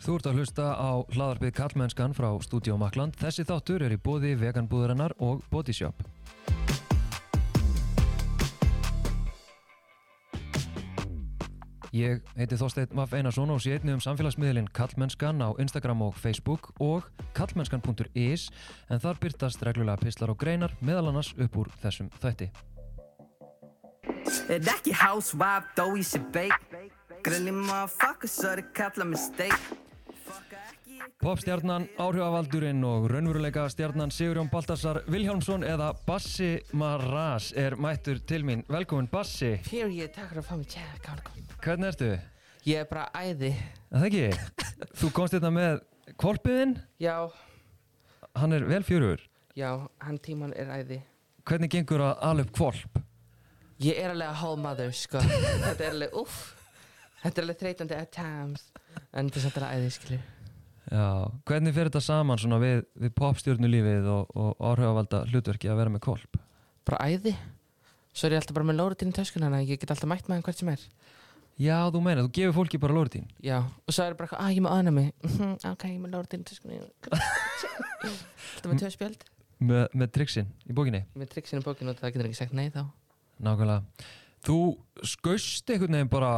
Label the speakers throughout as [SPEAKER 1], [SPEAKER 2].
[SPEAKER 1] Þú ert að hlusta á hlaðarpið Kallmennskan frá Stúdíó Makland. Þessi þáttur er í bóði veganbúðarinnar og Body Shop. Ég heiti Þorsteinn Vaff Einarsson og sé einnig um samfélagsmiðlinn Kallmennskan á Instagram og Facebook og kallmennskan.is en þar byrtast reglulega pislar og greinar meðal annars upp úr þessum þætti.
[SPEAKER 2] En ekki housewife þó ég sé bake Grilli motherfucker svo þið kalla mig steak
[SPEAKER 1] Popstjarnan, áhrifavaldurinn og raunveruleika stjarnan Sigurjón Baltasar Vilhjálmsson eða Bassi Maras er mættur til mín. Velkomin Bassi,
[SPEAKER 3] Period, takk fyrir að fá mig tjæða, gaman að koma.
[SPEAKER 1] hvernig ertu?
[SPEAKER 3] Ég er bara æði.
[SPEAKER 1] Er Það ekki? Þú komst hérna með kvolpiðinn,
[SPEAKER 3] Já,
[SPEAKER 1] hann er vel fjörugur.
[SPEAKER 3] já, hann tíman er æði.
[SPEAKER 1] Hvernig gengur að ala upp kvolp?
[SPEAKER 3] Ég er alveg að whole mother, sko. Þetta er alveg, uff. Þetta er alveg þreytandi at times. En þetta er samt alveg æði, skilju.
[SPEAKER 1] Já, hvernig fer þetta saman svona við, við popstjörnulífið og, og áhrifavalda hlutverki að vera með kvolp?
[SPEAKER 3] Bara æði. Svo er ég alltaf bara með lóritinn í töskun hana. Ég get alltaf mætt með hann hvert sem er.
[SPEAKER 1] Já, þú meina, þú gefur fólki bara lóritín.
[SPEAKER 3] Já, og svo er bara eitthvað, ah, ég má aðna mig. Mhm, ok, ég er með lóritinn í töskunni. Alltaf með töspjöld.
[SPEAKER 1] Með, með triksin í bókinni,
[SPEAKER 3] Með triksinu bókinu og það getur ekki sagt nei þá.
[SPEAKER 1] nákvæmlega. Þú skauðst einhvern veginn bara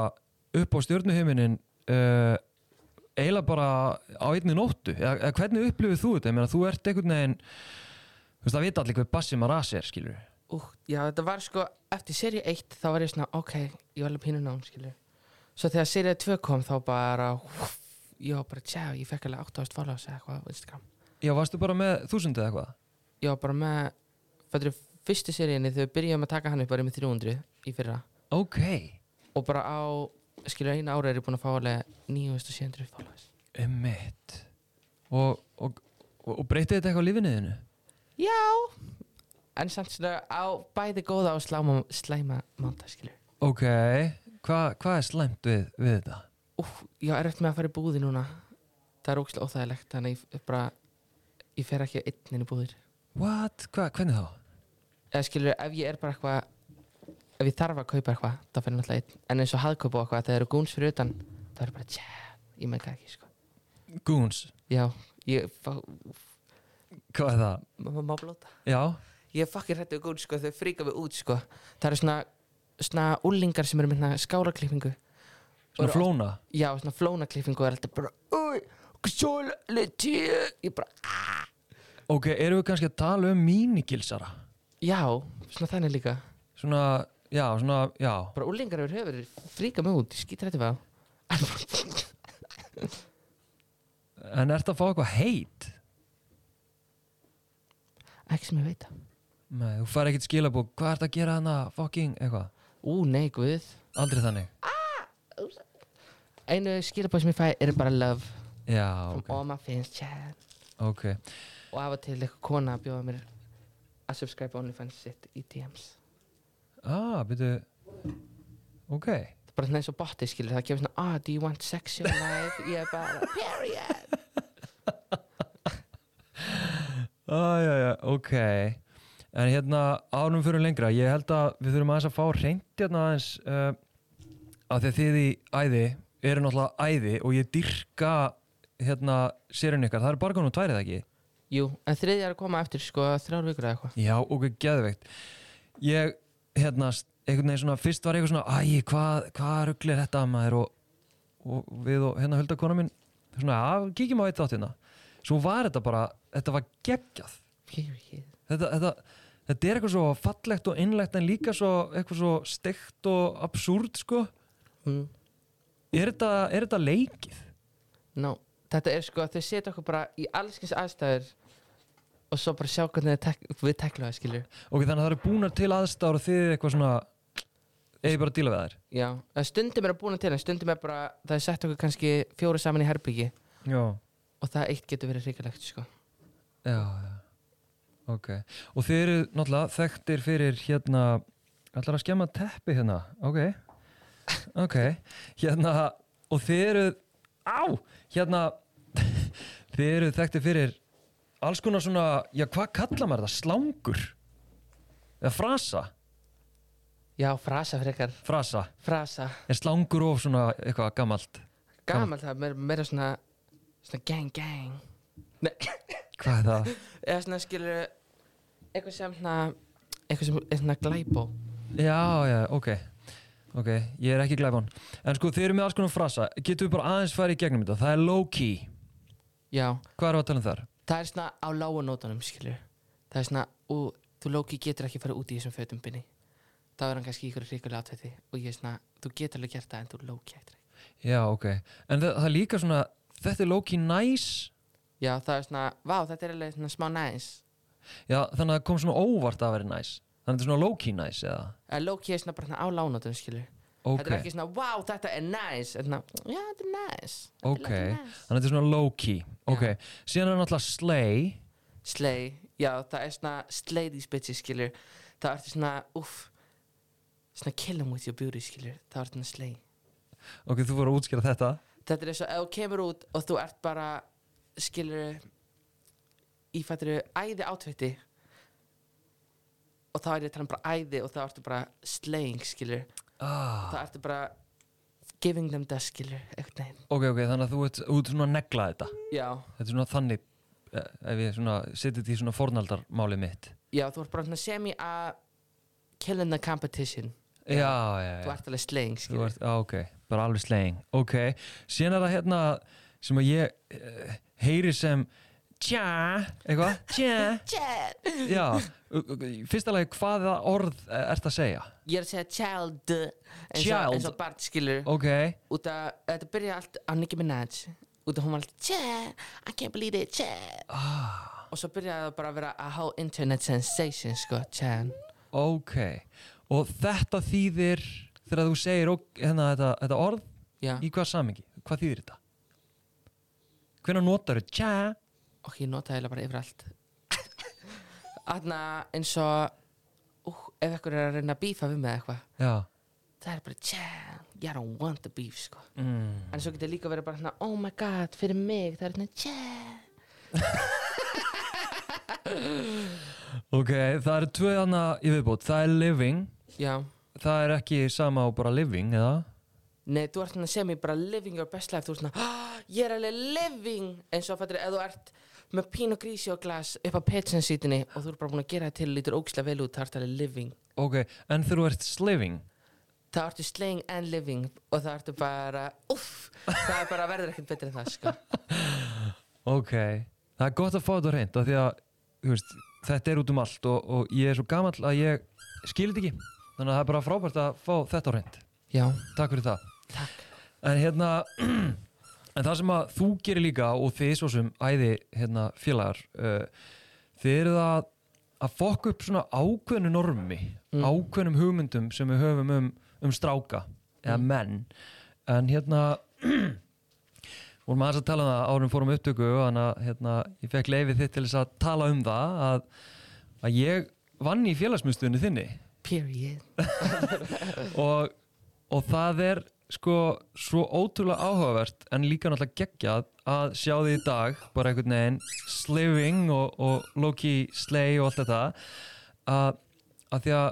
[SPEAKER 1] upp á stjörnuhiminin uh, eiginlega bara á einni nóttu. Eða, eða hvernig upplifir þú þetta? Ég meina, þú ert einhvern veginn, þú veist, það vita allir hver Bassi Maras er, skilur
[SPEAKER 3] Úh, já, þetta var sko, eftir serið 1 þá var ég svona, ok, ég var alveg pínu nám, skilur. Svo þegar serið 2 kom þá bara, húf, ég var bara, tjá, ég fekk alveg 8000 followers eða eitthvað á Instagram.
[SPEAKER 1] Já, varstu bara með þúsundu eða eitthvað?
[SPEAKER 3] Ég var bara með, fættur, fyrstu seriðinni þegar við byrjum að taka hann upp var ég með 300 í fyrra.
[SPEAKER 1] Ok.
[SPEAKER 3] Og bara á, skilur, einu ára er ég búin að fá alveg 9700 followers.
[SPEAKER 1] Ummitt. Og, og, og, og breytið þetta eitthvað lífinniðinu?
[SPEAKER 3] Já, en samt svona á bæði góða og sláma, slæma manda, skilur.
[SPEAKER 1] Ok. Hva, hvað er slæmt við, við þetta?
[SPEAKER 3] Úf, ég er eftir með að fara í búði núna Það er ógæslega óþægilegt Þannig að ég er bara Ég fer ekki einn inn í búðir
[SPEAKER 1] What? Hva, hvernig þá?
[SPEAKER 3] Eða skilur, ef ég er bara eitthvað Ef ég þarf að kaupa eitthvað, þá fer ég náttúrulega einn En eins og haðkaupa og eitthvað, þegar það eru gúns fyrir utan Það er bara, tjá, ég með ekki, sko
[SPEAKER 1] Goons.
[SPEAKER 3] Já, ég fá,
[SPEAKER 1] Hvað er það?
[SPEAKER 3] maður má blóta
[SPEAKER 1] Já.
[SPEAKER 3] Ég er fucking hrættu við gúns, sko, þau fríka mig út, sko Það eru svona, svona úlingar sem eru með svona skáraklippingu Og
[SPEAKER 1] Svona
[SPEAKER 3] eru
[SPEAKER 1] flóna.
[SPEAKER 3] Já, svona flónaklippingu er alltaf bara Új, sjóla, letíu Ég bara,
[SPEAKER 1] Ok, erum við kannski að tala um mínigilsara?
[SPEAKER 3] já, svona þannig líka
[SPEAKER 1] Svona, já, svona, já.
[SPEAKER 3] bara úlingar yfir höfur fríka mig út, ég skýt rætti við á
[SPEAKER 1] En ertu að fá eitthvað heit?
[SPEAKER 3] ekki sem ég veit af.
[SPEAKER 1] Nei, þú fær ekkert skilabók. Hvað ertu að gera hana? Fucking eitthvað.
[SPEAKER 3] ú nei guð
[SPEAKER 1] Aldrei þannig.
[SPEAKER 3] einu skilabóð sem ég fæ er bara love
[SPEAKER 1] Já, Ah,
[SPEAKER 3] okay.
[SPEAKER 1] ok.
[SPEAKER 3] og maður finnst tjæð
[SPEAKER 1] Ok.
[SPEAKER 3] og af og til eitthvað kona að bjóða mér að subscribe OnlyFans sitt í DMs
[SPEAKER 1] Ah, byrju. Ok.
[SPEAKER 3] það er bara svona eins og boti skilur það kemur svona ah do you want sex in your life ég er bara period
[SPEAKER 1] Ah, já, já, ok. En hérna, ánum fyrir lengra, ég held að við þurfum aðeins að fá reynd hérna aðeins uh, að þegar þið í æði eru náttúrulega æði og ég dyrka hérna sérun ykkar, það er bara konum tværið ekki?
[SPEAKER 3] jú en þriðja er að koma eftir sko þrjár vikur eða eitthvað
[SPEAKER 1] Já, ok, geðveikt. Ég, hérna, s- einhvern veginn svona, fyrst var ég eitthvað svona, æ, hvað, hvað rugglir þetta maður og, og við og hérna hölda kona mín, svona, já, kíkjum á eitt þátt hérna. Svo var þetta bara, þetta var geggjað.
[SPEAKER 3] period
[SPEAKER 1] þetta, þetta, þetta er eitthvað svo fallegt og innlegt en líka svo eitthvað svo steikt og absúrt sko
[SPEAKER 3] mm.
[SPEAKER 1] er þetta, er þetta leikið?
[SPEAKER 3] no. þetta er sko að þau setja okkur bara í allskins aðstæður og svo bara sjá hvernig þau tek- við tekla það skilur
[SPEAKER 1] ok, þannig að það eru búnar til aðstáður og þið eitthvað svona eigi bara að díla við þær
[SPEAKER 3] Já, en stundum er að búna til en stundum er bara, það er sett okkur kannski fjóru saman í herbyggi
[SPEAKER 1] já,
[SPEAKER 3] og það eitt getur verið ríkulegt sko.
[SPEAKER 1] já, já ok, og þið eru náttúrulega þekktir fyrir hérna ætlar að skemma teppi hérna, ok ok, hérna og þið eru á, hérna þið eru þekktir fyrir alls konar svona, já hvað kalla maður þetta, slangur eða frasa,
[SPEAKER 3] Já, frasa frekar,
[SPEAKER 1] frasa
[SPEAKER 3] frasa
[SPEAKER 1] er slangur of svona eitthvað gamalt
[SPEAKER 3] Gamal það, meira, meira svona svona gang gang Nei,
[SPEAKER 1] Hvað er það?
[SPEAKER 3] eða svona skilur eitthvað sem svona eitthvað sem er svona glæbó
[SPEAKER 1] Já, já, ok Ok, ég er ekki glæfan En sko, þið eru með alls konar frasa Getum við bara aðeins farið í gegnum þetta Það er low-key
[SPEAKER 3] Já,
[SPEAKER 1] Hvað er að tala um þar?
[SPEAKER 3] það er svona á láganótanum skilur það er svona, ú, þú Loki getur ekki fara út í þessum fötum binni þá er hann kannski ykkur ríkulega átveiti og ég er svona, þú getur alveg gert það en þú Loki getur ekki
[SPEAKER 1] Já, ok En það, það er líka svona Þetta er low-key nice
[SPEAKER 3] Já, það er svona, vá, þetta er alveg svona smá næs
[SPEAKER 1] Já, þannig að það kom svona óvart að vera nice Þannig að þetta er svona low-key nice eða
[SPEAKER 3] að Loki er svona bara svona á láganótanum skilur
[SPEAKER 1] Ok,
[SPEAKER 3] þetta er ekki svona, vá, þetta er næs en svona, já, þetta er næs Þetta er
[SPEAKER 1] ok
[SPEAKER 3] Loki
[SPEAKER 1] Þannig
[SPEAKER 3] næs."
[SPEAKER 1] að þetta er svona low-key Ok, síðan er náttúrulega slay
[SPEAKER 3] Slay, já það er svona Slay these bitches skilur Það ertu svona, uff Svona kill 'em with your beauty skilur Það ertu svona slay
[SPEAKER 1] Ok, þú voru að útskýra þetta
[SPEAKER 3] Þetta er eins og ef þú kemur út og þú ert bara Skilur Ífættir æði átveiti Og þá er ég að tala um bara æði Og þá ertu bara slaying skilur
[SPEAKER 1] ah,
[SPEAKER 3] Það ertu bara Giving them that skilur Eitthvað neginn
[SPEAKER 1] Ok, ok, þannig að þú ert, þú ert svona að negla þetta
[SPEAKER 3] Já,
[SPEAKER 1] Þetta er svona þannig eh, Ef ég svona setið þetta í svona fornaldarmáli mitt
[SPEAKER 3] já þú ert bara svona semi að Killing the competition
[SPEAKER 1] Já, já, já,
[SPEAKER 3] Þú ert alveg slaying
[SPEAKER 1] Þú
[SPEAKER 3] skilur
[SPEAKER 1] ert, á, ok, bara alveg sleging ok, síðan er það hérna sem að ég uh, heyri sem tja, eitthvað tja, já uh, uh, í fyrsta lagi hvaða orð eh, ert að segja,
[SPEAKER 3] Ég er að segja child eins
[SPEAKER 1] Child.
[SPEAKER 3] og, eins og barn skilur
[SPEAKER 1] ok
[SPEAKER 3] út að þetta byrja allt á Nicki Minaj út að hún var alltaf yeah, I can't believe it yeah.
[SPEAKER 1] Ah.
[SPEAKER 3] og svo byrjaði það bara að vera a whole internet sensation sko yeah.
[SPEAKER 1] ok, og þetta þýðir þegar þú segir ok, hérna, þetta, þetta orð
[SPEAKER 3] Já,
[SPEAKER 1] í hvað samingi, hvað þýðir þetta hvenær notar þau tja
[SPEAKER 3] og ég notaði eiginlega bara yfir allt Þarna eins og uh, ef ekkur er að reyna að bífa við með eitthvað
[SPEAKER 1] já,
[SPEAKER 3] það er bara yeah, I don't want the beef sko
[SPEAKER 1] mm.
[SPEAKER 3] en svo getur líka verið bara hérna oh my god fyrir mig það er hérna yeah
[SPEAKER 1] ok, það eru tvö hana í viðbót, það er living
[SPEAKER 3] Já,
[SPEAKER 1] það er ekki sama á bara living eða
[SPEAKER 3] Nei, þú ert svona sem ég bara living your best life Þú ert svona, ah, ég er alveg living En svo fattur, ef þú ert með pín og grísi og glas upp á petsinsítinni og þú ert bara búin að gera það til lítur ógislega vel út, það ert alveg living
[SPEAKER 1] Ok, en þegar þú ert sliving
[SPEAKER 3] Það ertu slaying and living og það ertu bara, uff Það er bara verður ekkert betur en það, sko
[SPEAKER 1] Ok, það er gott að fá þetta á hreint af Því að þú veist, þetta er út um allt og, og ég er svo gamall að ég skil þetta ekki Þannig að það er bara frábært að fá þetta á hreint
[SPEAKER 3] Já,
[SPEAKER 1] Takk fyrir það
[SPEAKER 3] takk
[SPEAKER 1] En hérna, en það sem að þú gerir líka og þið svo sem æði hérna, félagar uh, Þið eru að, að fokka upp svona ákveðnu normi Ákveðnum hugmyndum sem við höfum um, um stráka eða menn En hérna, vorum aðeins að tala um það árum fórum upptöku þannig að hérna, ég fekk leifið þitt til þess að tala um það að, að ég vann í félagsmyndstöðinu þinni
[SPEAKER 3] Period
[SPEAKER 1] og, og það er sko svo ótrúlega áhugavert en líka náttúrulega geggjað að sjá því í dag bara einhvern veginn sliving og, og Loki slay og allt þetta að, að því að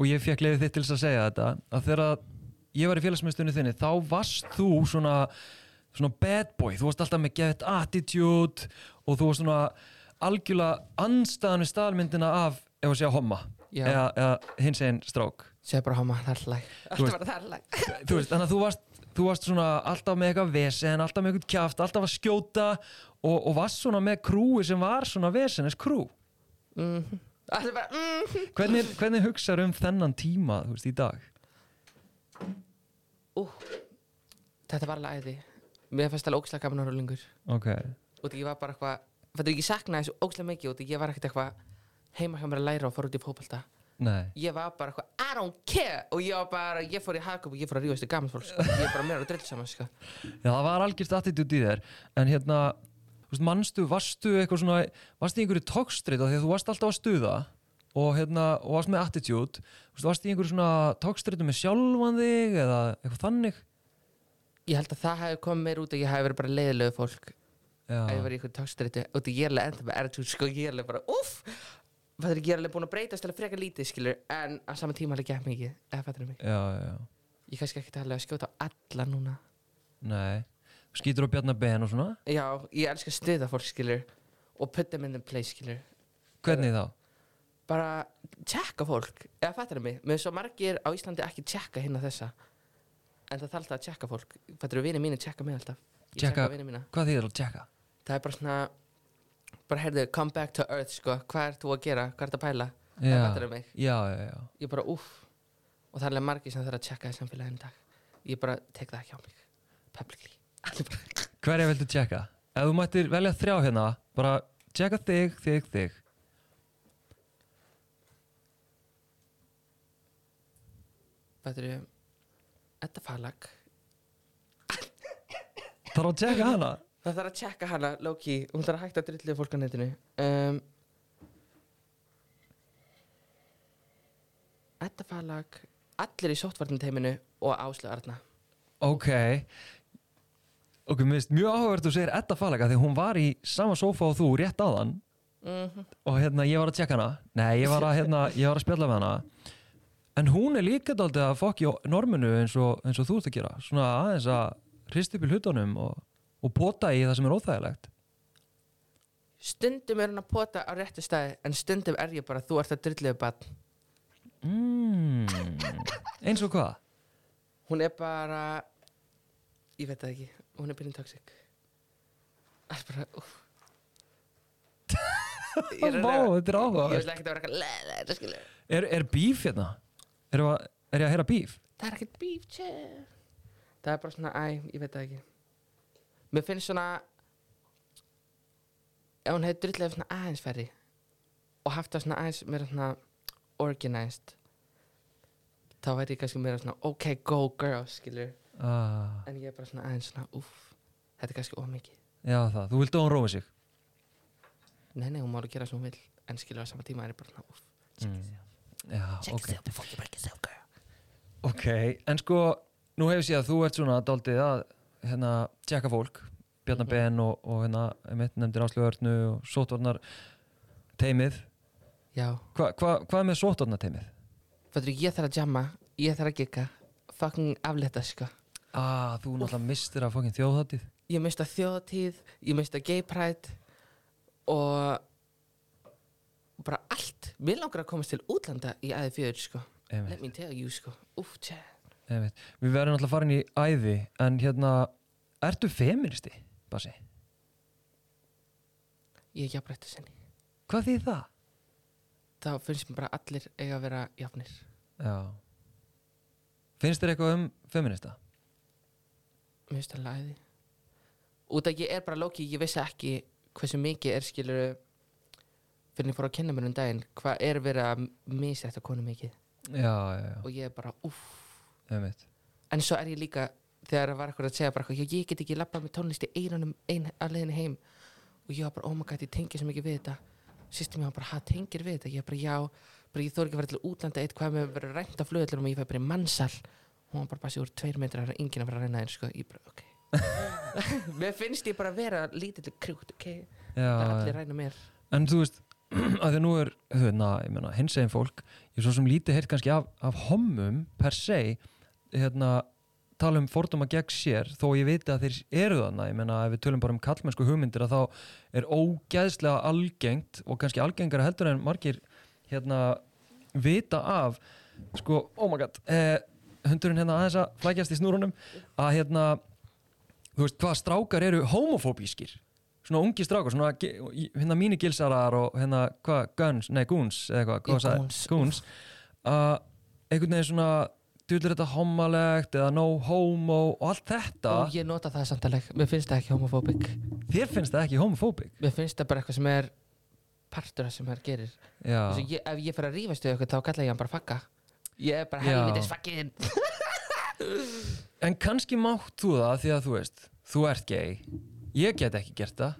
[SPEAKER 1] og ég fekk leiðið þitt til þess að segja þetta að þegar að ég var í félagsmyndstunni þinni þá varst þú svona svona bad boy, þú varst alltaf með gett attitude og þú varst svona algjörlega anstæðan við staðalmyndina af ef að segja homma
[SPEAKER 3] Já.
[SPEAKER 1] eða, eða hins einn strák
[SPEAKER 3] Sér bara hama, það er hlæg
[SPEAKER 1] Þú
[SPEAKER 3] Alltaf
[SPEAKER 1] veist-
[SPEAKER 3] bara það er hlæg
[SPEAKER 1] þú veist, þannig að þú varst, þú varst svona alltaf með eitthvað vesen, alltaf með eitthvað kjáft, alltaf að skjóta og, og varst svona með krúi sem var svona vesenes krú.
[SPEAKER 3] Það er Mhm. bara, mm,
[SPEAKER 1] Hvernig, hvernig hugsaður um þennan tíma, þú veist, í dag?
[SPEAKER 3] þetta var alveg æði Mér fannst alveg ógislega gaman að rúlingur
[SPEAKER 1] Ok,
[SPEAKER 3] og því ég var bara eitthvað fattur ekki saknaði þessu ógæslega mikið og því ég var ekkert eitthvað heima hjá mér að læra og fór út í fótbolta
[SPEAKER 1] nei,
[SPEAKER 3] ég var bara eitthvað I don't care og ég var bara ég fór í hagkjöp og ég fór að ríðast í gamans fólk sko. ég er bara meira að drill saman sko.
[SPEAKER 1] já, það var algjörst attitút í þér, en hérna, þú veist, mannstu, varstu eitthvað svona, varstu í einhverju tókstrið af því að þú varst alltaf að stuða og hérna, og varst með attitude, þú veist, varstu í einhverju svona tókstriðu með sjálfan þig eða eitthvað þannig?
[SPEAKER 3] ég held að það hefði komið mér út og ég hefði verið bara leiðilegu fólk
[SPEAKER 1] Já,
[SPEAKER 3] að ég var í eitthvað tókstrættu og því ég er alveg enda með attitude sko ég er alveg bara uff fattur ég er alveg búin að breytast alveg frekar lítið skilur en á sama tíma alveg gett mikið eða fattur mig
[SPEAKER 1] já, já, já.
[SPEAKER 3] ég er kannski ekki alveg að skjóta á alla núna
[SPEAKER 1] Nei, skýtur á Bjarnar Ben og svona
[SPEAKER 3] Já, ég elska að stuða fólk, skilur og put them in the place, skilur
[SPEAKER 1] hvernig þá?
[SPEAKER 3] bara tjekka fólk eða fattar mig, með svo margir á Íslandi ekki tjekka hinn að þessa en það þarf alltaf að tjekka fólk fattar við vinið mínu tjekka mig alltaf ég
[SPEAKER 1] Tjekka-
[SPEAKER 3] tjekka vinið mína
[SPEAKER 1] hvað þýðir að tjekka?
[SPEAKER 3] það er bara svona bara heyrðu, come back to earth sko hvað ert þú að gera, hvað ert að pæla
[SPEAKER 1] Já.
[SPEAKER 3] það fattar mig,
[SPEAKER 1] já, já, já,
[SPEAKER 3] ég bara uff og það er alveg margir sem þarf að tjekka í samfélaginu í dag ég bara tek það ekki á mig publicly Alveg bara-
[SPEAKER 1] hverja viltu tjekka? ef þú mættir velja þrjá hérna bara tjekka þig, þig, þig
[SPEAKER 3] fattar við Edda Falag
[SPEAKER 1] þarf að tjekka hana
[SPEAKER 3] það þarf að tjekka hana, Loki hún þarf að hætta að drullu fólk á netinu um, Edda Falag allir í sóttvarnateiminu og Áslu Arna
[SPEAKER 1] ok ok, mér finnst mjög áhugavert þú segir Edda Falega því hún var í sama sófa og þú rétt áðan og hérna ég var að tjekka hana nei, ég var að, hérna, ég var að spjalla með hana en hún er líka daldið að fokki norminu eins og, eins og þú ert að gera svona aðeins að hrist upp í hlutunum og, og pota í það sem er óþægilegt
[SPEAKER 3] stundum er hún að pota á réttu staði en stundum er ég bara þú ert að drullu bann
[SPEAKER 1] mm, eins og hvað?
[SPEAKER 3] hún er bara ég veit það ekki, hún er byrjun toxic það er bara úf Ég er að-
[SPEAKER 1] Vá, þetta er
[SPEAKER 3] ég
[SPEAKER 1] áhugavert
[SPEAKER 3] vil ekki að vera eitthvað leðið, skilur.
[SPEAKER 1] er, er bíf hérna? Er, er ég að heyra bíf?
[SPEAKER 3] það er ekkert beef chill. það er bara svona, æ, ég veit það ekki mér finnst svona ef hún hefði drullið svona aðeins færri og haft það svona aðeins meira svona organized þá væri ég kannski meira svona ok, go girl, skilur
[SPEAKER 1] Ah,
[SPEAKER 3] en ég er bara svona aðeins svona, uff þetta er kannski ómikið
[SPEAKER 1] já það, þú vildi að hún róa sig
[SPEAKER 3] nei, nei, hún má alveg gera sem hún vil en skilur á sama tíma er ég bara svona, uff
[SPEAKER 1] Mm. Já,
[SPEAKER 3] check
[SPEAKER 1] ok
[SPEAKER 3] yourself before you break yourself, girl
[SPEAKER 1] Ok, en sko, nú hef ég séð að þú ert svona daldið að hérna, tjekka fólk, Bjarnar
[SPEAKER 3] Mhm.
[SPEAKER 1] Ben og, og hérna, mitt nefndir Áslöðurnu og sótvarnar teimið.
[SPEAKER 3] já,
[SPEAKER 1] Hva, hva, hvað með sótvarnar teimið?
[SPEAKER 3] fattur ég þarf að jamma ég þarf að gigga, fucking aflita, sko
[SPEAKER 1] Ah, þú náttúrulega mistir að fókin þjóðháttið.
[SPEAKER 3] ég mista þjóðtíð, ég mista gay pride og bara allt mér langar að komast til útlanda í æði fjöður sko, let
[SPEAKER 1] Einmitt,
[SPEAKER 3] me tell you sko úf, tjá,
[SPEAKER 1] einmitt. Við verðum náttúrulega farin í æði, en hérna, ertu feministi, Basi?
[SPEAKER 3] ég er jafnrættu sinni
[SPEAKER 1] Hvað þýð það?
[SPEAKER 3] þá finnst mér bara allir eiga að vera jafnir
[SPEAKER 1] Já. Finnst þér eitthvað um feminista?
[SPEAKER 3] mér finnst alveg æði út að ég er bara lóki, ég vissi ekki hversu mikið er skilur fyrir ég fór að kynna mér um daginn hvað er verið að misrætta konu mikið
[SPEAKER 1] Já, já, já,
[SPEAKER 3] og ég er bara, úf
[SPEAKER 1] einmitt.
[SPEAKER 3] en svo er ég líka þegar það var eitthvað að segja bara eitthvað, "Já, ég get ekki labbað með tónlist í einunum ein, að leiðinu heim og ég var bara, oh my god, ég tengi svo mikið við þetta sýstum mér var bara, hvað tengir við þetta? ég bara, já, bara, ég þór ekki að fara til útlanda eitt hvað með verið rænt af flugöllunum og ég fæ bara í mannsal hún var bara, bara sér úr tveir metrar það er enginn að fara að reyna þeir, sko, ég bara, ok mér finnst ég bara að vera lítill krútt, ok,
[SPEAKER 1] Já,
[SPEAKER 3] það er
[SPEAKER 1] já.
[SPEAKER 3] allir að reyna mér
[SPEAKER 1] En þú veist, að því nú er hérna, ég meina, hins eginn fólk ég er svo sem lítið heyrt kannski af, af homum per se, hérna tala um fordóma gegn sér þó ég veit að þeir eru þarna, ég meina ef við tölum bara um kallmennsku hugmyndir að þá er ógeðslega algengt og kannski algengara heldur en margir hérna vita af sko, oh my god eh, hundurinn hérna aðeins að flækjast í snúrunum að hérna þú veist, hvað strákar eru homofóbískir svona ungi strákar, svona ge- hérna mínu gilsarar og hérna, hvað, guns, nei, guns eða hvað, hvað
[SPEAKER 3] Í
[SPEAKER 1] sagði- Ah,
[SPEAKER 3] Goons.
[SPEAKER 1] guns að einhvern veginn svona dullir þetta homalegt eða no homo og allt þetta
[SPEAKER 3] og ég nota það samtaleg, mér finnst það ekki homofóbik
[SPEAKER 1] þér finnst það ekki homofóbik
[SPEAKER 3] mér finnst það bara eitthvað sem er partur af sem það gerir
[SPEAKER 1] já,
[SPEAKER 3] Þessu, ég, ef ég fer að rífast við eitthvað þá kalla ég hann bara fakka ég er bara
[SPEAKER 1] Já.
[SPEAKER 3] helvitis fakkin
[SPEAKER 1] en kannski mátt þú það því að þú veist, þú ert gay ég get ekki gert það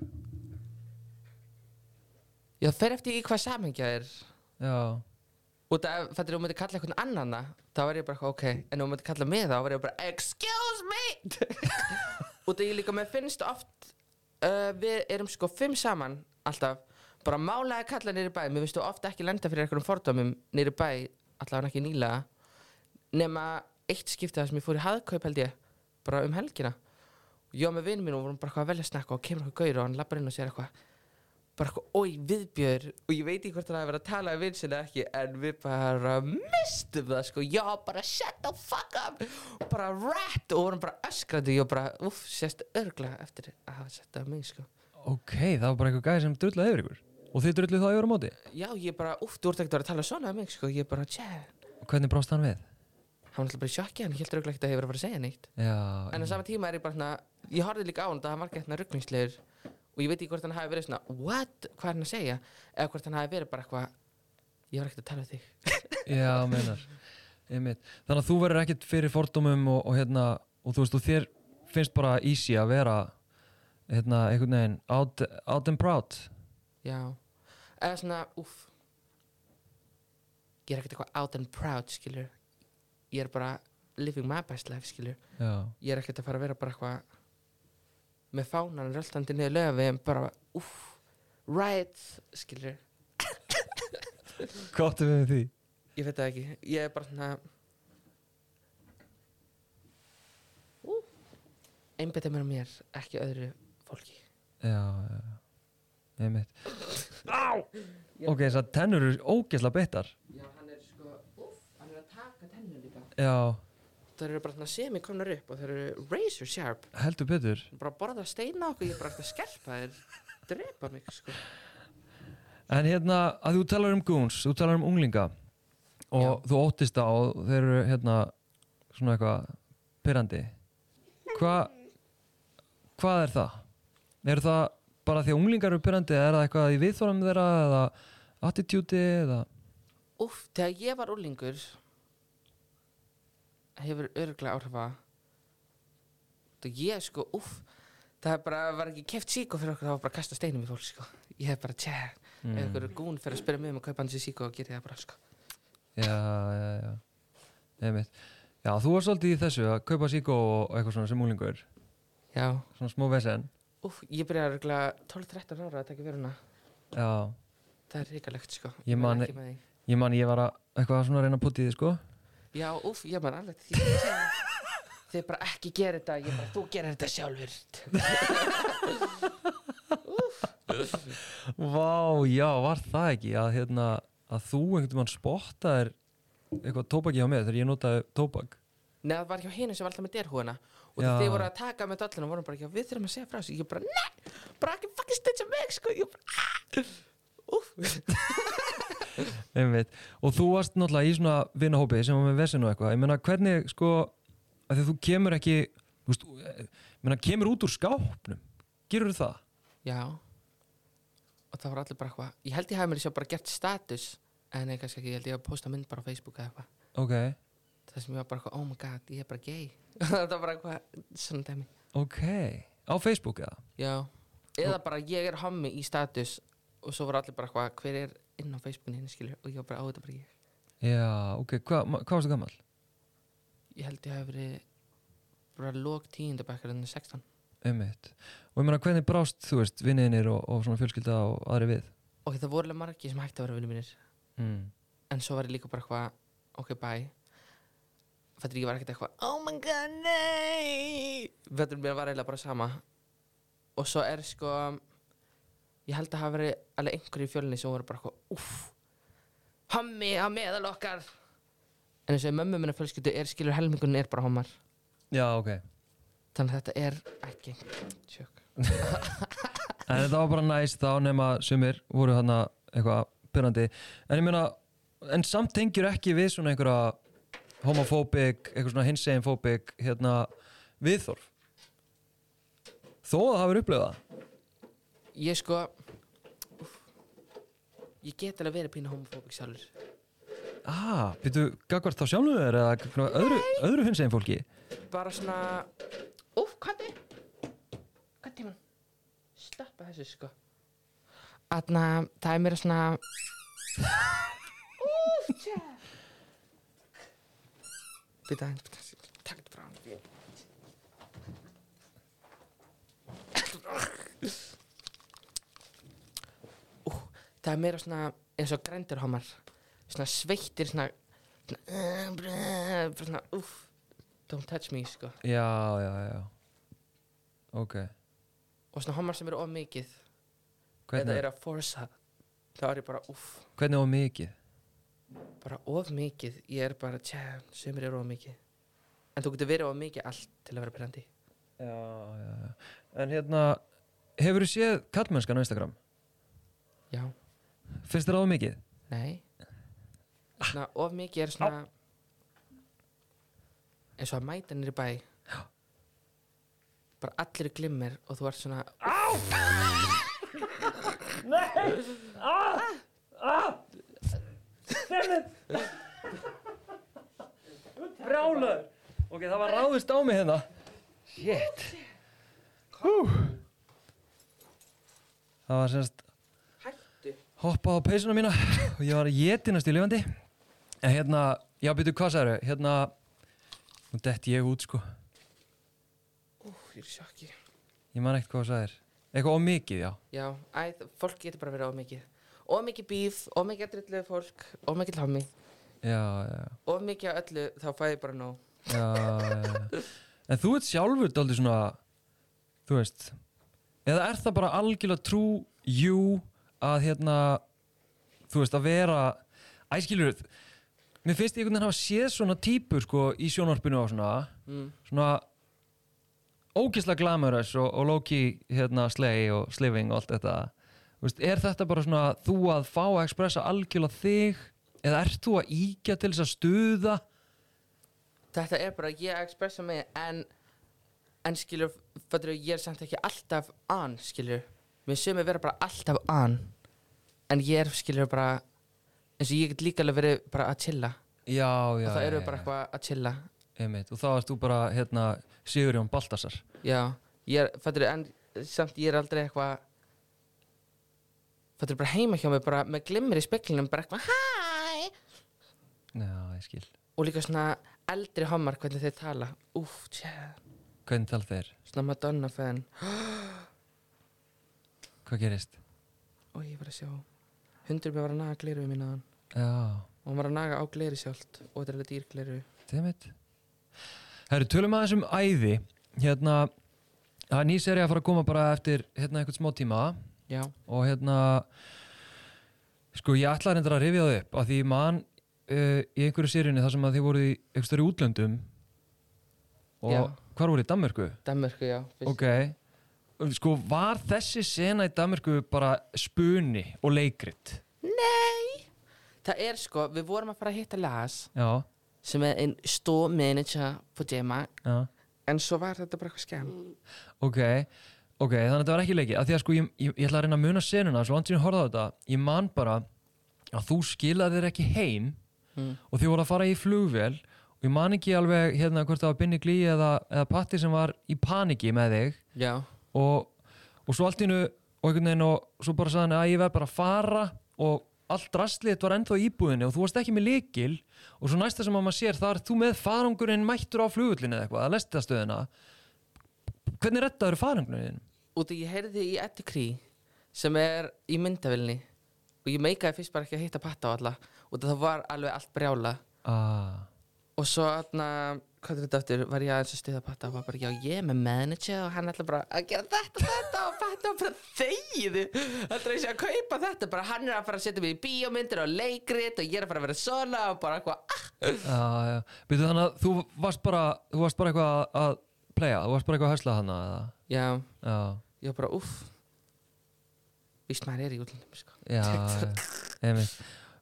[SPEAKER 3] ég fer eftir í hvað samhengja er
[SPEAKER 1] já,
[SPEAKER 3] og það fættir þú myndir kalla eitthvað annan það, þá var ég bara eitthvað, ok en ef þú myndir kalla mig þá var ég bara excuse me og það ég líka mér finnst oft uh, við erum sko fimm saman alltaf bara málaði kalla niður í bæ mér finnst þú ofta ekki lenda fyrir einhverjum fordómum niður í bæ allavega ekki nýlega nema eitt skipti það sem ég fór í haðkaup held ég bara um helgina ég var með vinnu mín og vorum bara eitthvað að velja snakka og kemur eitthvað gaur og hann lappar inn og sér eitthvað bara eitthvað, oi, viðbjör og ég veit ekki hvort hann hafi verið að tala við vinn sinna ekki en við bara mistum það sko, já, bara shut the fuck up og bara rat og vorum bara öskrandi og bara, uff, sérst örgla eftir að hafa sett það á mig sko
[SPEAKER 1] ok, það var bara eitthvað gæði sem drullaði yfir ykkur og þið drulluð þá yfir á móti
[SPEAKER 3] já, ég bara, uff, þú ert ekkert að vera að tala svona um mig sko, ég bara, tjæ hann
[SPEAKER 1] og hvernig brást hann við?
[SPEAKER 3] var alltaf bara í sjokki, hann heldur örgla ekkert að hefur að fara að segja neitt
[SPEAKER 1] Já,
[SPEAKER 3] en á sama tíma er ég bara svona ég horfði líka á hann það hann var ekki hérna rugglingslegur og ég veit ekki hvort hann hafi verið svona what, hvað er hann að segja eða hvort hann hafi verið bara eitthvað ég var ekkert að tala við þig
[SPEAKER 1] já, meinar Einmitt. þannig að þú verður ekkert fyrir fordómum og, og hérna, og þú veist, og þér finnst bara easy að vera hérna, einhvern veginn out, out and proud
[SPEAKER 3] já, eða svona, uff ég er ekkert eitthvað out and proud skilur ég er bara living my best life skilur
[SPEAKER 1] já,
[SPEAKER 3] ég er ekkert að fara að vera bara eitthvað með fánan röltandi niður lögum við bara, uff, right skilur
[SPEAKER 1] hvað áttu við með því?
[SPEAKER 3] Ég veit það ekki, ég er bara svona Ú. Einbeita mér að mér, ekki öðru fólki
[SPEAKER 1] já, já, já, einmitt ok, þess að tennur eru ógeðslega beittar
[SPEAKER 3] Já, hann er sko, úff, hann er að taka tennur líka
[SPEAKER 1] já,
[SPEAKER 3] Það eru bara svona semikomnar upp og það eru razor sharp
[SPEAKER 1] heldur betur
[SPEAKER 3] Bara borða steina okkur, ég er bara eftir að skerpa þér Drepa mig, sko
[SPEAKER 1] En hérna, að þú talar um goons, þú talar um unglinga og þú óttist þá og þeir eru hérna svona eitthvað pyrrandi. Hva, hvað er það? Er það bara því að unglingar eru pyrrandi eða er það eitthvað í viðþorum þeirra eða attitúti eða...
[SPEAKER 3] Úff, þegar ég var úlingur hefur örglega áhrifa það ég sko, úff það er bara var ekki keft síkó fyrir okkur það var bara að kasta steinum í fólk sko ég hef bara, tjæ,
[SPEAKER 1] Mm.
[SPEAKER 3] ef ykkur er gún fyrir að spyrja mig um að kaupa hans í síkó og gera það bara sko
[SPEAKER 1] Já, já, já. Einmitt. Já, þú varst svolítið í þessu að kaupa síkó og eitthvað svona sem unglingur.
[SPEAKER 3] já,
[SPEAKER 1] Svona smó vesen.
[SPEAKER 3] úff, ég byrjaði örglega 12-13 ára að taka veruna
[SPEAKER 1] Já,
[SPEAKER 3] það er hrikalegt sko
[SPEAKER 1] Ég
[SPEAKER 3] verð
[SPEAKER 1] man- e-
[SPEAKER 3] ekki með því.
[SPEAKER 1] ég man ég var að eitthvað svona að reyna að putta í því sko.
[SPEAKER 3] já, úff, ég man alveg því tjá, þið bara ekki gera þetta ég bara, þú gerir þetta sjálfur
[SPEAKER 1] Vá, já, var það ekki að, hérna, að þú einhvern veginn spottaðir eitthvað tóbaki hjá mér þegar ég notaði tóbak
[SPEAKER 3] Nei, það var hjá hinu sem var alltaf með derhúana og
[SPEAKER 1] Já.
[SPEAKER 3] þegar þeir voru að taka með dollinu voru bara, já, við þurfum að segja frá þessu ég bara, nei, bara ekki fucking stetja mig sko, ég bara, ah, aah Úf,
[SPEAKER 1] einmitt. og þú varst náttúrulega í svona vinahópi sem var með vesinu og eitthvað ég meina hvernig sko að því að þú kemur ekki þú veist, ég meina kemur út úr skápnum gerur það?
[SPEAKER 3] já og það voru allir bara eitthvað, ég held ég hafi mér sér bara gert status en nei, kannski ekki, ég held ég að posta mynd bara á Facebook eða eitthvað,
[SPEAKER 1] Ok,
[SPEAKER 3] það sem ég var bara eitthvað, oh my god, ég er bara gay það var bara eitthvað, svona dæmi
[SPEAKER 1] ok á Facebook eða?
[SPEAKER 3] já, eða bara ég er hommi í status og svo voru allir bara eitthvað, hver er inn á Facebookinu skilur, og ég var bara, á þetta er bara ég
[SPEAKER 1] Já, ok, Hva, ma- hvað varstu gammal?
[SPEAKER 3] ég held ég hafi verið bara lók tíundabækkar en 16
[SPEAKER 1] Einmitt. og ég meina hvernig brást þú veist vinninir og, og svona fjölskylda og aðri við?
[SPEAKER 3] og það voru alveg margir sem hætti að vera viljum mínir
[SPEAKER 1] Mm.
[SPEAKER 3] en svo var ég líka bara eitthvað ok bye fættur ég var ekkert eitthvað oh my god nei fættur mér var eiginlega bara sama og svo er sko ég held að hafa verið alveg einhverju í fjölinni sem voru bara eitthvað uff hommi á meðal okkar en eins og í mömmu minna fjölskyldu er skilur helmingun er bara hommar
[SPEAKER 1] Já, ok
[SPEAKER 3] þannig að þetta er ekki sjökk
[SPEAKER 1] En þetta var bara næst þá nema sumir voru hann eitthvað pyrrandi En ég meina, en samt tengjur ekki við svona einhverja homofóbik, eitthvað svona hinseginfóbik hérna viðþorf Þó að það hafi upplifað það.
[SPEAKER 3] Ég sko úff, Ég get alveg verið pínu homofóbik sjálfur
[SPEAKER 1] Ah, býtu, gagvart þá sjálfum þér eða gagnvart öðru, öðru hinsegin fólki
[SPEAKER 3] Bara svona Úf, hvað er Hvað tíma Stoppa þessu sko Þarna, það er mér svona Úf, tjá Býta aðeins, býta aðeins Takk þetta frá hann Ú, það er meira svona eins og grændirhomar svona sveittir svona svona, uh, brr, bara svona úf, don't touch me sko
[SPEAKER 1] Já, já, já ok
[SPEAKER 3] og svona homar sem eru of mikið eða
[SPEAKER 1] hvernig,
[SPEAKER 3] eru að forsa þá er ég bara uff
[SPEAKER 1] hvernig og mikið
[SPEAKER 3] bara of mikið ég er bara tjá sumir eru of mikið en þú getur verið of mikið allt til að vera pyrrandi
[SPEAKER 1] já, já, já. en hérna hefur þú séð kallmennskan á Instagram
[SPEAKER 3] já
[SPEAKER 1] finnst þér á mikið
[SPEAKER 3] nei svona of mikið er svona eins og að mæta nýri bæ bara allir glimmir og þú ert svona á nei
[SPEAKER 1] brjálaður ok, það var ráðist á mig hérna shit Hú. það var semst
[SPEAKER 3] hættu
[SPEAKER 1] hoppa á peysuna mína og ég var að jetinast í lifandi en hérna, já byrju hvað særu hérna, nú detti ég út sko
[SPEAKER 3] Ú, ég er í sjokki
[SPEAKER 1] ég man ekkert hvað það er eitthvað of mikið, já
[SPEAKER 3] já, æ, þ- fólk getur bara verið of mikið of mikið bíf, of mikið að drilluðu fólk of mikið hlámi,
[SPEAKER 1] já, já,
[SPEAKER 3] of mikið að öllu þá fæ ég bara nóg
[SPEAKER 1] já, já, já en þú ert sjálfur dálítið svona þú veist eða er það bara algjörlega trú jú að hérna þú veist að vera æskilur mér finnst ég einhvern veginn hafa séð svona típur sko í sjónvarpinu og svona
[SPEAKER 3] mm.
[SPEAKER 1] svona ógisla glamurous og, og Loki hérna slei og sliving og allt þetta Þú Veist, er þetta bara svona þú að fá að expressa algjörlega þig eða ert þú að íkja til þess að stuða
[SPEAKER 3] þetta er bara ég að expressa mig en en skilur, fattur ég er samt ekki alltaf on, skilur mér sögum vera bara alltaf on en ég er skilur bara eins og ég get líka alveg verið bara að chilla
[SPEAKER 1] já, já,
[SPEAKER 3] og það
[SPEAKER 1] já,
[SPEAKER 3] eru
[SPEAKER 1] já,
[SPEAKER 3] bara eitthvað að chilla
[SPEAKER 1] einmitt, og þá erst þú bara hérna Sigurjón Baltasar
[SPEAKER 3] já, ég er, fattur en samt ég er aldrei eitthvað fattur bara heima hjá mig bara með glimmir í speklinum, bara eitthvað hæ
[SPEAKER 1] já, ég skil,
[SPEAKER 3] og líka svona eldri homar hvernig þeir tala úf, tjá,
[SPEAKER 1] hvernig tala þeir
[SPEAKER 3] svona Madonna fan
[SPEAKER 1] hvað gerist
[SPEAKER 3] og ég var að sjá hundur mér var að naga gleru mín aðan
[SPEAKER 1] já,
[SPEAKER 3] og hann var að naga á gleru sjálft og þetta er alveg dýr gleru
[SPEAKER 1] Dammit Herru, tölum aðeins um æði Hérna Það er ný serið að fara að koma bara eftir hérna einhvern smá tíma
[SPEAKER 3] já,
[SPEAKER 1] og hérna Sko, ég ætla reyndar að rifja það upp að því ég man uh, í einhverju seríunni þar sem að þið voru í einhverju störu útlöndum og
[SPEAKER 3] Já.
[SPEAKER 1] hvar voru í Danmörku?
[SPEAKER 3] Danmörku, já fyrst.
[SPEAKER 1] Ok Sko, var þessi sena í Danmörku bara spuni og leikrit?
[SPEAKER 3] það er sko, við vorum að fara að hitta Lars
[SPEAKER 1] Já,
[SPEAKER 3] sem er einn stó manager på Gemma
[SPEAKER 1] já
[SPEAKER 3] en svo var þetta bara eitthvað skemm
[SPEAKER 1] Ok, ok, þannig að þetta var ekki leikið að Því að sko, ég, ég, ég ætla að reyna að muna senuna Svo langt sem ég horfði á þetta Ég man bara að þú skilaði þér ekki heim
[SPEAKER 3] Mm.
[SPEAKER 1] Og þið voru að fara í flugvél Og ég man ekki alveg hérna hvort það var Binni Glí eða, eða Patti sem var í paniki með þig
[SPEAKER 3] já,
[SPEAKER 1] Og, og svo allt í innu Og einhvern veginn og svo bara sagði hann að ég verð bara að fara Og allt rastlið var ennþá í íbúðinni Og þú varst ekki með lykil Og svo næsta sem að maður sér þar Þú með farangurinn mættur á flugvöllinu eða eitthvað Að lesta Hvernig rettaður farangurinn?
[SPEAKER 3] út af ég heyrði í Eddie Cree sem er í myndavilni og ég meikaði fyrst bara ekki að hitta patta á alla og það var alveg allt brjála
[SPEAKER 1] Ah,
[SPEAKER 3] og svo aðna, hvað er þetta aftur, var ég aðeins að stuða patta og var bara, já ég er með manager og hann ætla bara að gera þetta, þetta og patta og bara þegiðu ætla ég sé að kaupa þetta, bara hann er að fara að setja mig í bíómyndir og leikrit og ég er að fara að vera svona og bara eitthvað, ah,
[SPEAKER 1] já, já. Býtu þannig að þú varst bara, þú varst bara eitthvað að- að playa, þú varst bara eitthvað að hösla hana eða?
[SPEAKER 3] já,
[SPEAKER 1] Já,
[SPEAKER 3] ég var bara, uff víst maður er í útlundum, sko
[SPEAKER 1] já, já, einmitt.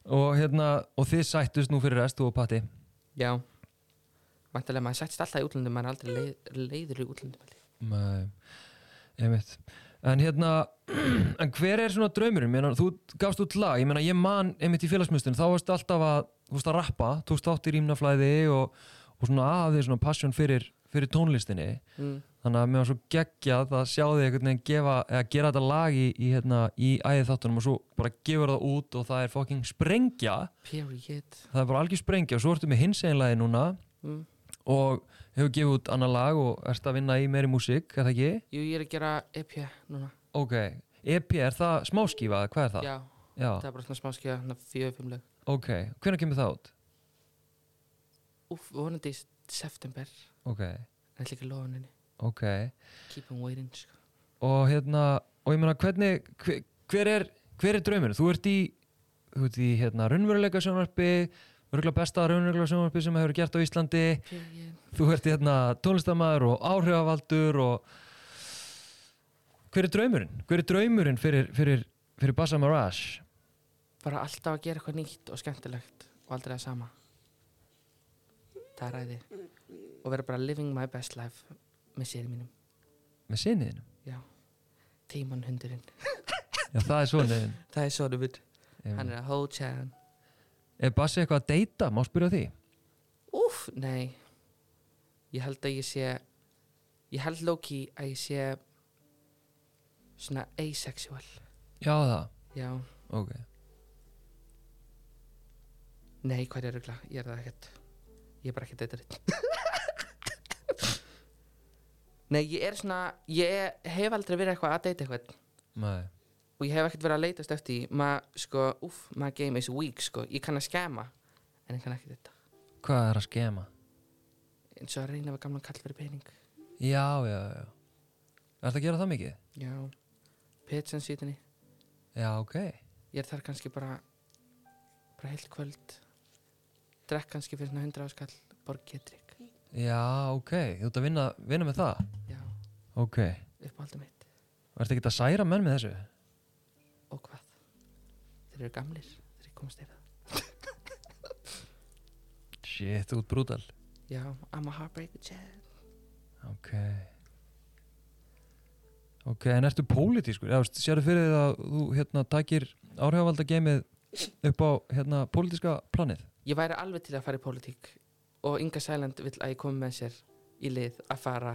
[SPEAKER 1] Og hérna, og þið sættust nú fyrir rest, þú og Patti.
[SPEAKER 3] já, mæntilega maður sættist alltaf í útlundum maður er aldrei leið, leiður í útlundum held ég.
[SPEAKER 1] Nei, einmitt. En hérna, en hver er svona draumurinn? Meina, þú gafst út lag, ég meina ég man einmitt í félagsmyndstun, þá varst alltaf að, þú varst að rappa, tókst átt í rýmnaflæði og, og svona aðið svona passion fyrir, fyrir tónlistinni.
[SPEAKER 3] mm.
[SPEAKER 1] þannig að mér var svo geggjað að sjá þig einhvern veginn gefa, eða gera þetta lag í, í, hérna, í æðið þáttunum og svo bara gefur það út og það er fucking sprengja
[SPEAKER 3] period
[SPEAKER 1] það er bara algjör sprengja og svo ertu með hins einlagi núna
[SPEAKER 3] mm.
[SPEAKER 1] og hefur gefið út annar lag og ert að vinna í meiri músík, er það ekki?
[SPEAKER 3] jú, ég er að gera EP núna
[SPEAKER 1] Ok, EP, er það smáskífa, eða hvað er það?
[SPEAKER 3] já,
[SPEAKER 1] Já,
[SPEAKER 3] það er bara svona smá skjöða, fjöðu, fimm lög
[SPEAKER 1] ok, hvernig kemur það út?
[SPEAKER 3] Úf, vonandi í september
[SPEAKER 1] Ok,
[SPEAKER 3] En það er líka loðan henni
[SPEAKER 1] ok
[SPEAKER 3] keep him waiting sko.
[SPEAKER 1] og hérna, og ég meina hvernig hver, hver, er, hver er draumurinn? Þú ert í, þú ert í hérna raunveruleika sjónvarpi örgulega besta raunveruleika sjónvarpi sem hefur verið gert á Íslandi
[SPEAKER 3] Period.
[SPEAKER 1] þú ert hérna tónlistamæður og áhrifavaldur og hver er draumurinn? hver er draumurinn fyrir, fyrir, fyrir Bassa Mirage?
[SPEAKER 3] bara alltaf að gera eitthvað nýtt og skemmtilegt og aldrei það sama það er æði og vera bara living my best life með sér mínum
[SPEAKER 1] með sinniðinu?
[SPEAKER 3] já, tíman hundurinn
[SPEAKER 1] Já, það er svona
[SPEAKER 3] það er svona við, hann
[SPEAKER 1] Er,
[SPEAKER 3] er að whole chan
[SPEAKER 1] er Bassi eitthvað að deyta? Má spyrja því?
[SPEAKER 3] úf, nei ég held að ég sé ég held Loki að ég sé svona asexual
[SPEAKER 1] Já, það,
[SPEAKER 3] já,
[SPEAKER 1] ok
[SPEAKER 3] nei, hvað er rugla ég er það ekkert ég er bara ekkert eitthvað nei, ég er svona ég hef aldrei verið eitthvað að deyta eitthvað
[SPEAKER 1] Nei,
[SPEAKER 3] og ég hef ekkert verið að leitast eftir því. maður, sko, úf, maður game is weak sko, ég kann að skema en ég kann ekki þetta
[SPEAKER 1] hvað er að skema?
[SPEAKER 3] eins og að reyna við gamlan kall fyrir pening
[SPEAKER 1] Já, já, já Er að gera það mikið?
[SPEAKER 3] já, pitchen síðinni
[SPEAKER 1] Já, ok
[SPEAKER 3] ég er þar kannski bara bara heilt kvöld drekk kannski fyrir svona 100 áskall borg getrygg,
[SPEAKER 1] Já, ok, þú ert að vinna, vinna með það
[SPEAKER 3] já,
[SPEAKER 1] Ok,
[SPEAKER 3] uppáhaldum mitt
[SPEAKER 1] ertu ekki að særa menn með þessu?
[SPEAKER 3] og hvað, þeir eru gamlir þeir komast yfir það,
[SPEAKER 1] Shit, þú ert brútal
[SPEAKER 3] já, I'm a heartbreaker chad
[SPEAKER 1] Ok Ok, en ertu pólitískur? Já, veist, sérðu fyrir því að þú hérna takir áhrifavalda geimið upp á hérna pólitíska planið?
[SPEAKER 3] ég væri alveg til að fara í pólitík og Inga Sæland vill að ég komi með sér í lið að fara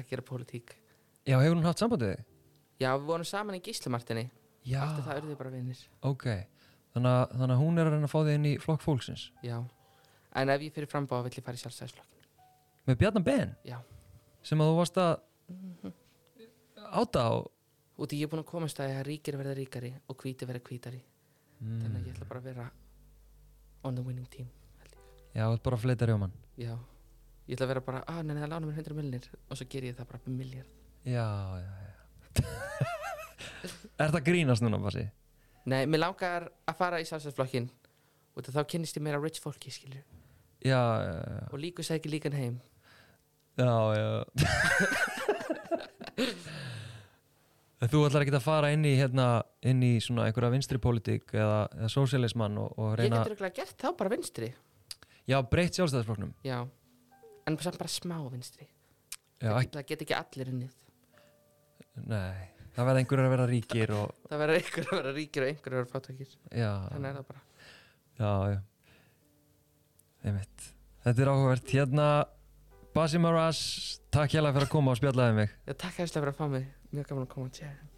[SPEAKER 3] að gera pólitík
[SPEAKER 1] Já, hefur hún haft sambandið þig?
[SPEAKER 3] já, við vorum saman í Gíslumartinni
[SPEAKER 1] Já
[SPEAKER 3] eftir það urðu við bara vinnir
[SPEAKER 1] Ok, þannig að, þannig að hún er að reyna að fá þig inn í flokk fólksins
[SPEAKER 3] já, en ef ég fyrir frambáð vill ég fara í sjálfstæðisflokk
[SPEAKER 1] með Bjarnar Ben
[SPEAKER 3] já, Mhm.
[SPEAKER 1] sem að þú varst að áta á
[SPEAKER 3] út í ég er búin að komast að því að ríkir verða ríkari og hvíti verða hvítari þannig að ég ætla bara að vera on the winning team
[SPEAKER 1] Já, þú ert bara að fleita rjóman
[SPEAKER 3] já, ég ætla að vera bara að ah, neina, það lána mér 100 millinir og svo ger ég það bara millir
[SPEAKER 1] Já, já, já Er það grínast núna, Bassi?
[SPEAKER 3] nei, mér langar að fara í sjálfstæðisflokkin og þá kynnist ég meira rich fólki, skilur
[SPEAKER 1] Já, já, já
[SPEAKER 3] og líku sækir líkan heim
[SPEAKER 1] Já, já En Þú ætlar ekki að fara inn í hérna, inn í svona einhverja vinstri pólitík eða, eða sósialismann og, og
[SPEAKER 3] ég
[SPEAKER 1] reyna
[SPEAKER 3] getur ekki gert þá bara vinstri
[SPEAKER 1] Já, breytt sjálfstæðisflokknum
[SPEAKER 3] já, en samt bara smá vinstri
[SPEAKER 1] Já,
[SPEAKER 3] það,
[SPEAKER 1] ekki,
[SPEAKER 3] get, það get ekki allir unnið
[SPEAKER 1] nei Það verða einhverjar að vera ríkir og
[SPEAKER 3] það verður einhver að vera ríkir og einhver að vera fátakir
[SPEAKER 1] Já,
[SPEAKER 3] þannig er það bara
[SPEAKER 1] Já, já Einmitt. Þetta er áhugavert Hérna, Basi Maras Takk hérlega fyrir að koma og spjallaði mig
[SPEAKER 3] já, takk aðeinslega fyrir að fá mig, mjög gaman að koma að tjæða